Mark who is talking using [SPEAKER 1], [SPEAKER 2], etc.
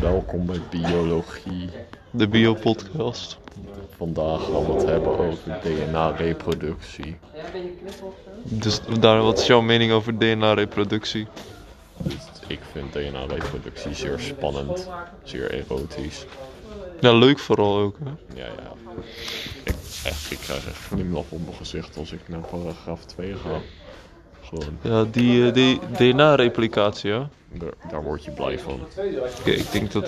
[SPEAKER 1] Welkom bij Biologie.
[SPEAKER 2] De Biopodcast.
[SPEAKER 1] Vandaag gaan we het hebben over DNA-reproductie.
[SPEAKER 2] Dus daar, wat is jouw mening over DNA-reproductie?
[SPEAKER 1] Dus ik vind DNA-reproductie zeer spannend, zeer erotisch.
[SPEAKER 2] Ja, leuk vooral ook. Hè?
[SPEAKER 1] Ja, ja. Ik, echt, ik krijg echt glimlach op mijn gezicht als ik naar paragraaf 2 ga. Gewoon,
[SPEAKER 2] Ja, die, eh, die DNA-replicatie, hè?
[SPEAKER 1] daar, daar word je blij van.
[SPEAKER 2] Oké, ik denk dat